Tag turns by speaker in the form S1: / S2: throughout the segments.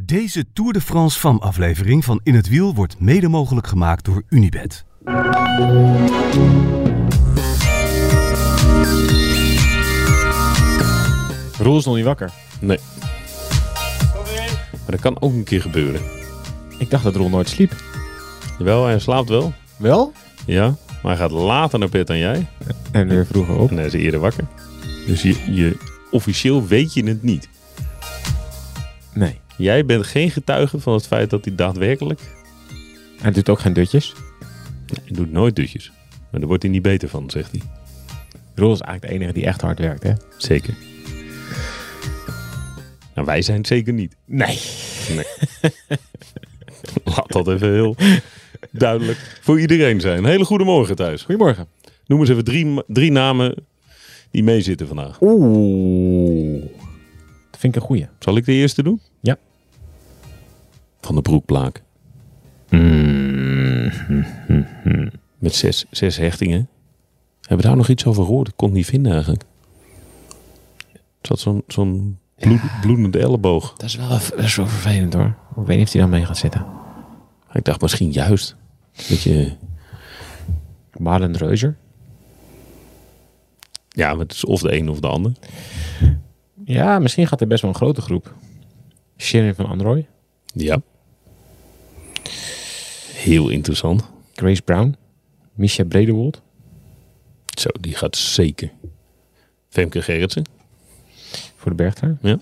S1: Deze Tour de France van aflevering van In het Wiel wordt mede mogelijk gemaakt door Unibed.
S2: Roel is nog niet wakker.
S3: Nee. Maar dat kan ook een keer gebeuren.
S2: Ik dacht dat Roel nooit sliep.
S3: Wel, hij slaapt wel.
S2: Wel?
S3: Ja. Maar hij gaat later naar bed dan jij.
S2: En weer vroeger op.
S3: En hij is eerder wakker. Dus je, je, officieel weet je het niet.
S2: Nee.
S3: Jij bent geen getuige van het feit dat hij daadwerkelijk...
S2: Hij doet ook geen dutjes.
S3: Hij doet nooit dutjes. Maar daar wordt hij niet beter van, zegt hij.
S2: Roel is eigenlijk de enige die echt hard werkt, hè?
S3: Zeker. Nou, wij zijn het zeker niet.
S2: Nee.
S3: Laat dat even heel duidelijk voor iedereen zijn. Hele goede morgen thuis.
S2: Goedemorgen.
S3: Noem eens even drie, drie namen die meezitten vandaag.
S2: Oeh. Dat vind ik een goeie.
S3: Zal ik de eerste doen?
S2: Ja.
S3: Van de broekplaak. Hmm. Met zes, zes hechtingen. Hebben we daar nog iets over gehoord? Ik kon het niet vinden eigenlijk. Er zat zo'n zo'n bloed, bloedende elleboog.
S2: Dat is, wel, dat is wel vervelend, hoor. Ik weet niet of hij dan mee gaat zitten.
S3: Ik dacht misschien juist. Dat je...
S2: Marlen Reuser.
S3: Ja, maar het is of de een of de ander.
S2: Ja, misschien gaat er best wel een grote groep. Shirin van Android.
S3: Ja. Heel interessant.
S2: Grace Brown. Misha Bredewold.
S3: Zo, die gaat zeker. Femke Gerritsen.
S2: Voor de bergtrein.
S3: Ja.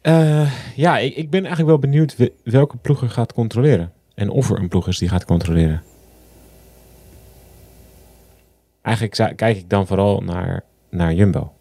S2: Eh, ja, ik, ik ben eigenlijk wel benieuwd we- welke ploeg er gaat controleren. En of er een ploeg is die gaat controleren. Eigenlijk zou- kijk ik dan vooral naar, naar Jumbo.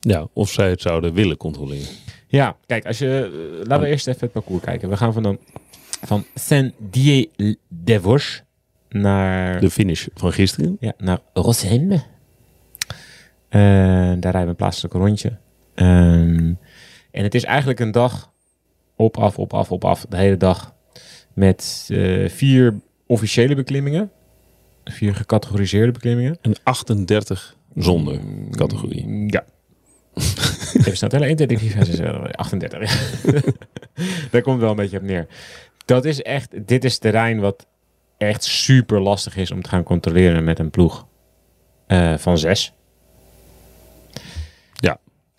S3: Ja, of zij het zouden willen controleren.
S2: Ja, kijk, als je, eh, laten we eerst even het parcours kijken. We gaan van, dan, van Saint-Dié-de-Vos naar,
S3: De finish van gisteren.
S2: ja, nou, naar Rossem. daar rijden we een plaatselijk rondje. Ehm, en het is eigenlijk een dag op, af, op, af, op, af. De hele dag met eh, vier officiële beklimmingen. Vier gecategoriseerde beklimmingen.
S3: En 38 zonder
S2: Mm.
S3: categorie.
S2: Ja. Even snel tellen. 1, 2, 3, 4, 5, 6, 7, 38. Daar komt wel een beetje op neer. Dat is echt, dit is terrein wat echt super lastig is om te gaan controleren met een ploeg eh, van zes.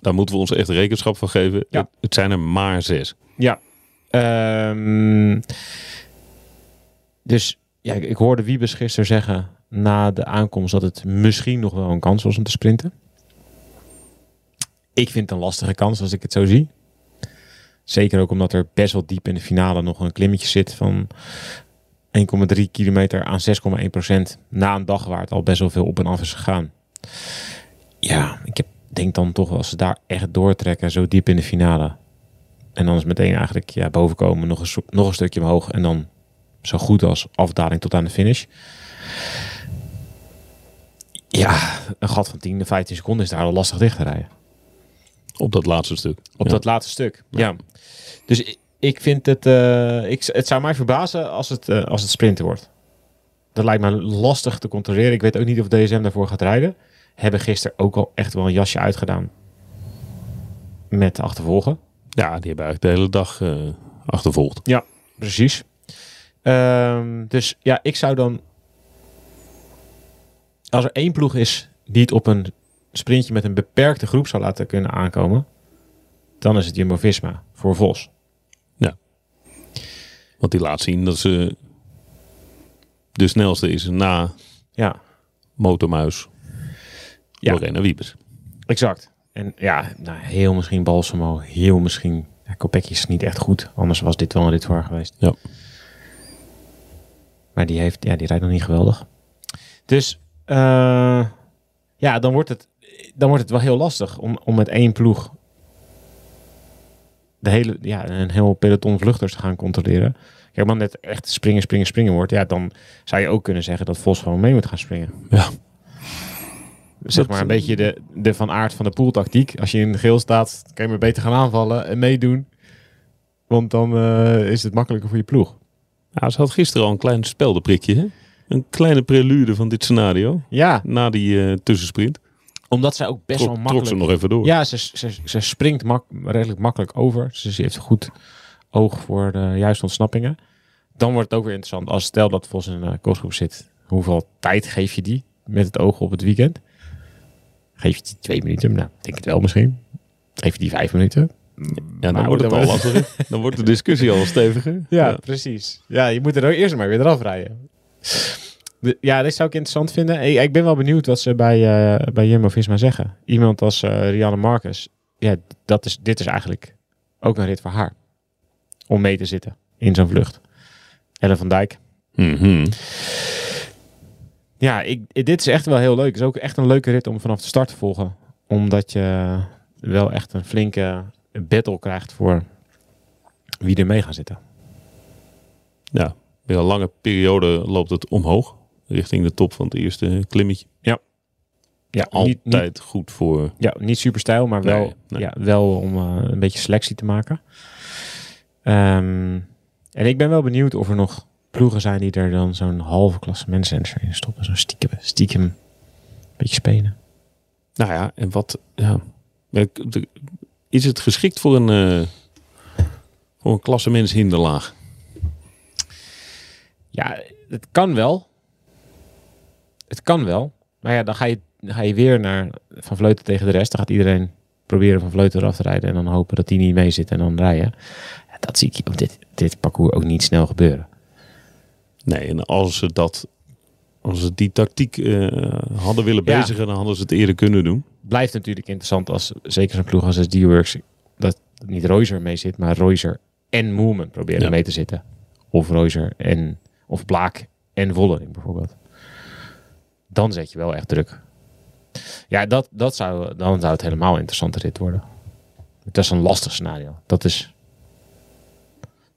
S3: Daar moeten we ons echt rekenschap van geven.
S2: Ja.
S3: Het, het zijn er maar zes.
S2: Ja. Ehm, dus ja, ik, ik hoorde Wiebes gisteren zeggen na de aankomst dat het misschien nog wel een kans was om te sprinten. Ik vind het een lastige kans als ik het zo zie. Zeker ook omdat er best wel diep in de finale nog een klimmetje zit van 1,3 kilometer aan 6,1 procent. Na een dag waar het al best wel veel op en af is gegaan. Ja, ik heb, denk dan toch als ze daar echt doortrekken zo diep in de finale. En dan is meteen eigenlijk ja, bovenkomen, nog een, so- nog een stukje omhoog. En dan zo goed als afdaling tot aan de finish. Ja, een gat van 10, 15 seconden is daar al lastig dicht te rijden.
S3: Op dat laatste stuk.
S2: Op
S3: Ja.
S2: dat laatste stuk. Ja. Dus i- ik vind het. eh, ik, het zou mij verbazen als het, eh, als het sprinten wordt. Dat lijkt me lastig te controleren. Ik weet ook niet of DSM daarvoor gaat rijden. Hebben gisteren ook al echt wel een jasje uitgedaan. Met de achtervolgen.
S3: Ja, die hebben eigenlijk de hele dag eh, achtervolgd.
S2: Ja, precies. Ehm, dus ja, ik zou dan. Als er één ploeg is die het op een sprintje met een beperkte groep zou laten kunnen aankomen, dan is het Jumbo Visma voor Vos.
S3: Want die laat zien dat ze de snelste is na
S2: Ja,
S3: Motormuis
S2: Ja.
S3: Lorena Wiebes.
S2: exact. En ja, nou, heel misschien Balsamo, heel misschien. Ja, Kopecky is niet echt goed, anders was dit wel een dit voor geweest.
S3: Ja.
S2: Maar die, heeft, ja, die rijdt nog niet geweldig. Dus eh, ja, dan wordt, het, dan wordt het wel heel lastig om, om met één ploeg de hele, ja, een heel peloton vluchters te gaan controleren. Kijk, man, net echt springen, springen, springen wordt, ja, dan zou je ook kunnen zeggen dat Vos gewoon mee moet gaan springen.
S3: Ja.
S2: Zeg maar een beetje de, de van aard van de pooltactiek. Als je in geel staat, kan je maar beter gaan aanvallen en meedoen. Want dan eh, is het makkelijker voor je ploeg.
S3: Ja, ze had gisteren al een klein speldenprikje. Hè? Een kleine prelude van dit scenario.
S2: Ja,
S3: Na die eh, tussensprint.
S2: Omdat zij ook best
S3: Trok,
S2: wel
S3: trok
S2: makkelijk...
S3: ze nog even door.
S2: Ja, ze, ze, ze springt mak, redelijk makkelijk over. Dus ze heeft een goed oog voor de juiste ontsnappingen. Dan wordt het ook weer interessant. Als stel dat Vos in een kostgroep zit, hoeveel tijd geef je die met het oog op het weekend? Geef je die twee minuten? Nou, ik denk het wel misschien. Geef je die vijf minuten?
S3: Ja, dan
S2: Maar
S3: wordt het
S2: dan
S3: al
S2: Nou, wordt-
S3: lastiger. Dan wordt de discussie al steviger.
S2: Ja, precies. Ja, je moet er ook eerst maar weer eraf rijden. De- Ja, dit zou ik interessant vinden. Ik, ik ben wel benieuwd wat ze bij, eh, bij Jumbo-Visma zeggen. Iemand als eh, Rianne Marcus, ja, dat is, dit is eigenlijk ook een rit voor haar. Om mee te zitten in zo'n vlucht. Ellen van Dijk.
S3: Mhm.
S2: Ja, ik, ik- dit is echt wel heel leuk. Het is ook echt een leuke rit om vanaf de start te volgen. Omdat je wel echt een flinke battle krijgt voor wie er mee gaat zitten.
S3: Ja, weer een lange periode loopt het omhoog. Richting de top van het eerste klimmetje.
S2: Ja,
S3: Altijd goed voor...
S2: Ja, niet super stijl, maar wel,
S3: Nee, nee.
S2: Ja, wel om eh, een beetje selectie te maken. Ehm, en ik ben wel benieuwd of er nog ploegen zijn die er dan zo'n halve klassementsrenner in stoppen. Zo'n stiekem, stiekem beetje spelen.
S3: Nou ja, en wat... Ja. Ja, ik- de- Is het geschikt voor een, eh voor een klassemens hinderlaag?
S2: Ja, het kan wel. Het kan wel. Maar ja, dan ga je, dan ga je weer naar Van Vleuten tegen de rest. Dan gaat iedereen proberen Van Vleuten eraf te rijden. En dan hopen dat die niet mee zit en dan rijden. Ja, Dat zie ik op dit, dit parcours ook niet snel gebeuren.
S3: Nee, en als ze, dat, als ze die tactiek eh, hadden willen
S2: Ja.
S3: bezigen, dan hadden ze het eerder kunnen doen.
S2: blijft natuurlijk interessant als zeker zo'n ploeg als SD-Works dat niet Royzer mee zit, maar Royzer en Moeman proberen
S3: Ja.
S2: mee te zitten. Of Royzer en of Blaak en Vollering bijvoorbeeld. Dan zet je wel echt druk. Ja, dat, dat zou, dan zou het helemaal een interessante rit worden. Dat is een lastig scenario. Dat is.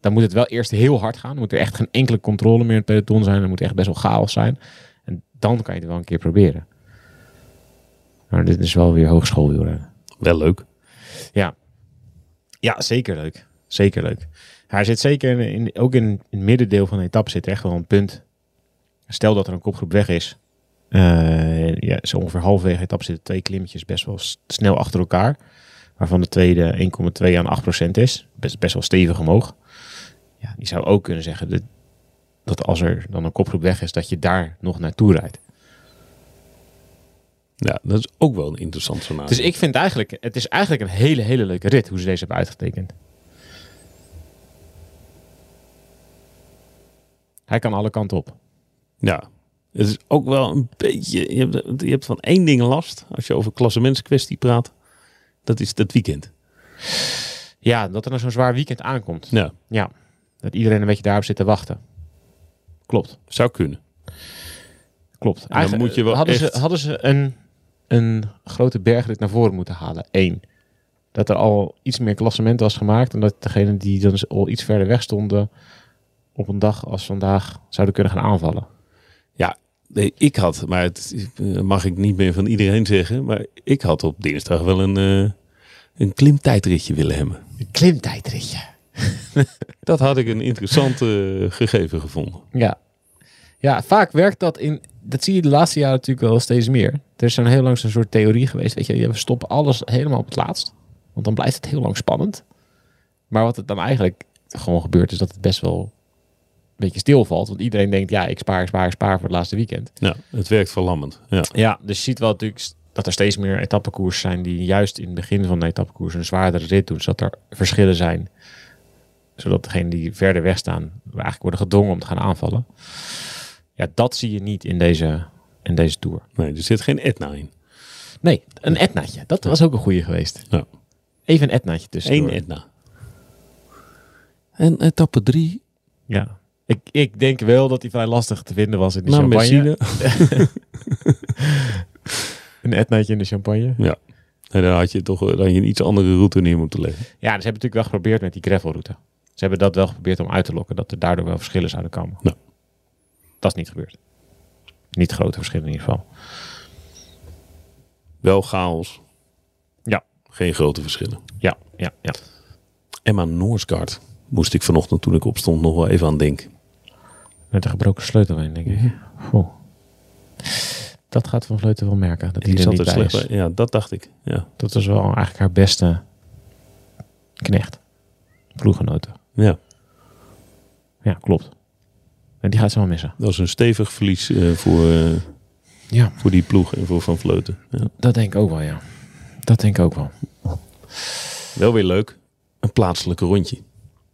S2: Dan moet het wel eerst heel hard gaan. Dan moet er echt geen enkele controle meer in het peloton zijn. Dan moet echt best wel chaos zijn. En dan kan je het wel een keer proberen. Maar dit is wel weer hogeschoolwielrennen.
S3: Wel leuk.
S2: Ja, zeker leuk. Zeker leuk. Hij zit zeker in, in- ook in, het middendeel van de etappe zit er echt wel een punt. Stel dat er een kopgroep weg is. eh, ja, zo ongeveer halverwege de etappe zitten twee klimmetjes best wel s- snel achter elkaar. Waarvan de tweede 1,2 aan 8% is. Best, best wel stevig omhoog. Ja, die zou ook kunnen zeggen dat, dat als er dan een kopgroep weg is, dat je daar nog naartoe rijdt.
S3: Ja, dat is ook wel een interessant scenario.
S2: Dus ik vind eigenlijk, het is eigenlijk een hele, hele leuke rit hoe ze deze hebben uitgetekend. Hij kan alle kanten op.
S3: Ja, het is ook wel een beetje. Je hebt, je hebt van één ding last als je over klassementskwestie praat. Dat is dat weekend.
S2: Ja, dat er nou zo'n zwaar weekend aankomt.
S3: Ja,
S2: Ja, dat iedereen een beetje daarop zit te wachten. Klopt,
S3: zou kunnen.
S2: klopt.
S3: dan moet je wel
S2: hadden,
S3: echt-
S2: ze, hadden ze een, een grote bergrit naar voren moeten halen. Eén, dat er al iets meer klassement was gemaakt. En dat degene die dan dus al iets verder weg stonden... op een dag als vandaag zouden kunnen gaan aanvallen.
S3: Ja, nee, ik had, maar het eh, mag ik niet meer van iedereen zeggen. Maar ik had op dinsdag wel een, eh, een klimtijdritje willen hebben.
S2: Een klimtijdritje.
S3: Dat had ik een interessant eh, gegeven gevonden.
S2: Ja. ja, vaak werkt dat in. Dat zie je de laatste jaren natuurlijk wel steeds meer. Er is zo'n heel lang zo'n soort theorie geweest. Weet je, ja, we stoppen alles helemaal op het laatst. Want dan blijft het heel lang spannend. Maar wat het dan eigenlijk gewoon gebeurt, is dat het best wel een beetje stilvalt. Want iedereen denkt, ja, ik spaar, ik spaar, ik spaar voor het laatste weekend.
S3: Ja, het werkt verlammend. Ja.
S2: Ja, dus je ziet wel natuurlijk st- dat er steeds meer etappekoers zijn die juist in het begin van de etappekoers een zwaardere rit doen, zodat er verschillen zijn. Zodat degenen die verder weg staan eigenlijk worden gedwongen om te gaan aanvallen. Ja, dat zie je niet in deze, in deze tour.
S3: Nee, er zit geen Etna in.
S2: Nee, een etnaatje. Dat was ook een goede geweest.
S3: Ja.
S2: Even een etnaatje tussen.
S3: Eén Etna. En etappe drie
S2: Ja. Ik, ik denk wel dat die vrij lastig te vinden was in de
S3: naar
S2: champagne.
S3: Messina.
S2: Een etnaatje in de champagne.
S3: Ja. En dan had je toch eh, dan had je een iets andere route neer moeten leggen.
S2: Ja, ze hebben natuurlijk wel geprobeerd met die gravelroute. Ze hebben dat wel geprobeerd om uit te lokken, dat er daardoor wel verschillen zouden komen.
S3: Ja.
S2: Dat is niet gebeurd. Niet grote verschillen in ieder geval.
S3: Wel chaos,
S2: Ja,
S3: geen grote verschillen.
S2: ja, ja, ja.
S3: Emma Noorsgaard moest ik vanochtend toen ik opstond nog wel even aan denken.
S2: Met een gebroken sleutel denk ik. Goh. Dat gaat Van Vleuten wel merken. Dat
S3: Die
S2: hij er
S3: zat
S2: niet
S3: er
S2: bij
S3: slecht bij.
S2: is.
S3: Ja, dat dacht ik. Ja.
S2: Dat is wel eigenlijk haar beste knecht. Ploeggenoten.
S3: ja.
S2: Ja, klopt. En die gaat ze wel missen.
S3: Dat is een stevig verlies eh, voor, eh,
S2: Ja.
S3: voor die ploeg en voor Van Vleuten. Ja.
S2: Dat denk ik ook wel, ja. Dat denk ik ook wel.
S3: Wel weer leuk. Een plaatselijke rondje.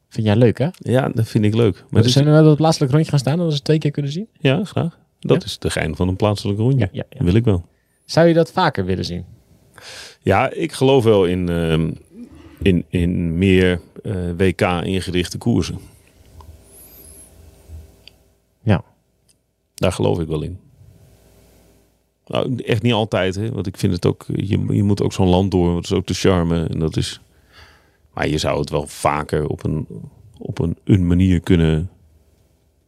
S2: Vind jij leuk, hè?
S3: Ja, dat vind ik leuk. Maar
S2: Maar
S3: dat is-
S2: zijn we wel op het plaatselijk rondje gaan staan, dat we ze twee keer kunnen zien?
S3: ja, graag. Dat
S2: Ja.
S3: is de gein van een plaatselijke rondje.
S2: ja, ja.
S3: Wil ik wel.
S2: Zou je dat vaker willen zien?
S3: Ja, ik geloof wel in, ehm, in, in meer eh, WK-ingerichte koersen.
S2: Ja.
S3: Daar geloof ik wel in. Nou, echt niet altijd, hè? want ik vind het ook, je, je moet ook zo'n land door, want dat is ook de charme. En dat is, maar je zou het wel vaker op een, op een, een manier kunnen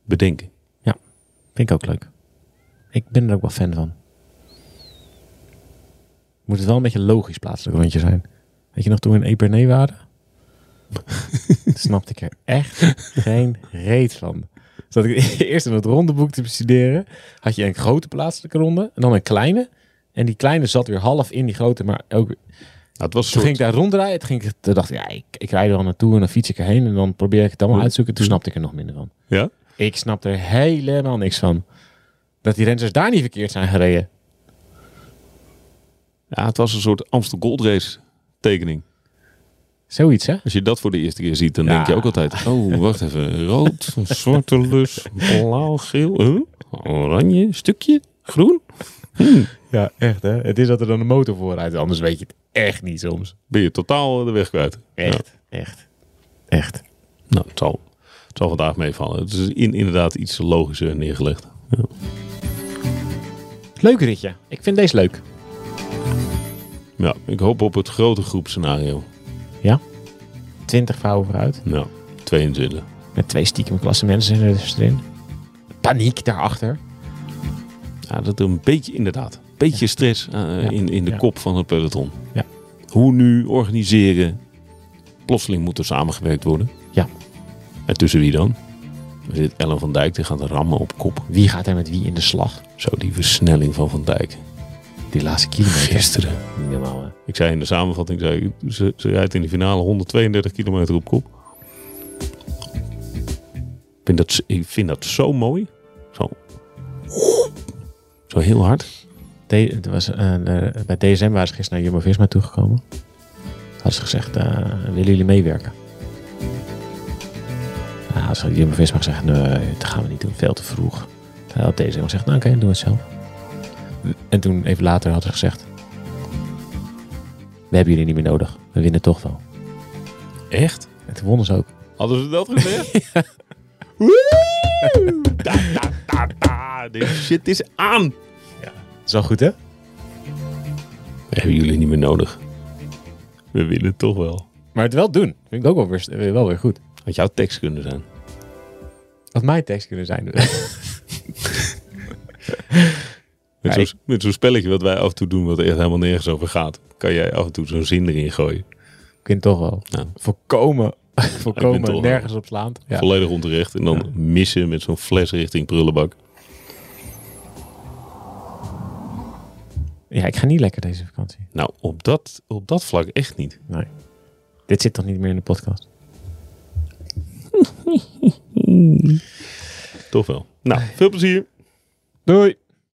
S3: bedenken.
S2: Vind ik ook leuk. Ik ben er ook wel fan van. Moet het wel een beetje logisch plaatselijk rondje zijn. Weet je nog toen we in Epernay waren? snapte ik er echt geen reet van. Zat ik eerst in het rondeboek te bestuderen. Had je een grote plaatselijke ronde en dan een kleine. En die kleine zat weer half in die grote, maar ook
S3: Nou, het was een
S2: Toen ging
S3: soort,
S2: ik daar ronddraaien. Toen, ging ik, toen dacht ik, ja, ik, ik rijd er al naartoe en dan fiets ik erheen. En dan probeer ik het allemaal uit te zoeken. Toen snapte ik er nog minder van.
S3: ja?
S2: Ik snap er helemaal niks van. Dat die renners daar niet verkeerd zijn gereden.
S3: ja, het was een soort Amstel Gold Race tekening.
S2: Zoiets, hè?
S3: Als je dat voor de eerste keer ziet, dan
S2: Ja.
S3: denk je ook altijd... Oh, wacht even. Rood, een zwarte lus, blauw, geel, huh? oranje, stukje, groen.
S2: Ja, echt, hè? Het is dat er dan een motor vooruit. Anders weet je het echt niet soms.
S3: Ben je totaal de weg kwijt.
S2: Echt, echt, echt.
S3: Nou, het zal, het zal vandaag meevallen. Het is in, inderdaad iets logischer neergelegd.
S2: Leuk ritje. Ik vind deze leuk.
S3: Ja, ik hoop op het grote groepscenario.
S2: Ja? 20 vrouwen vooruit.
S3: Nou, 22.
S2: Met twee stiekem klasse mensen erin. Paniek daarachter.
S3: Ja, dat er een beetje, inderdaad, een beetje stress eh,
S2: Ja.
S3: in, in de
S2: Ja.
S3: kop van het peloton.
S2: Ja.
S3: Hoe nu organiseren? Plotseling moet er samengewerkt worden.
S2: Ja.
S3: En tussen wie dan? Er zit Ellen van Dijk, die gaat rammen op kop.
S2: Wie gaat er met wie in de slag?
S3: Zo, die versnelling van Van Dijk.
S2: Die laatste kilometer.
S3: Gisteren.
S2: Niet normaal, hè?
S3: Ik zei in de samenvatting, zei, ik, ze, ze rijdt in de finale 132 kilometer op kop. Ik vind dat, z- ik vind dat zo mooi. Zo. Zo heel hard.
S2: De, het was, eh, eh, bij DSM waren ze gisteren naar Jumbo-Visma toegekomen. Hadden ze gezegd, eh, willen jullie meewerken? Nou, als Jumbo-Visma gezegd, nee, dat gaan we niet doen, veel te vroeg. Dan had DSM gezegd, nou oké, doen we het zelf. En toen, even later, hadden ze gezegd... We hebben jullie niet meer nodig, we winnen toch wel.
S3: Echt?
S2: En toen wonnen ze ook.
S3: Hadden ze dat gezegd? Woe! Ta, ta, ta, ta. Dit shit is aan.
S2: Zo goed, hè?
S3: We hebben jullie niet meer nodig. We winnen toch wel.
S2: Maar het wel doen, vind ik ook wel weer, wel weer goed.
S3: Had jouw tekst kunnen zijn.
S2: Had mijn tekst kunnen zijn.
S3: Met
S2: Ja,
S3: zo'n met zo'n spelletje wat wij af en toe doen, wat er echt helemaal nergens over gaat, kan jij af en toe zo'n zin erin gooien.
S2: Ik vind het toch wel.
S3: Ja.
S2: Volkomen, volkomen
S3: toch wel.
S2: nergens op slaand. Ja.
S3: Volledig onterecht. En dan missen met zo'n fles richting prullenbak.
S2: ja, ik ga niet lekker deze vakantie.
S3: Nou, op dat, op dat vlak echt niet.
S2: Nee. Dit zit toch niet meer in de podcast?
S3: Toch wel. Nou, veel plezier.
S2: Doei!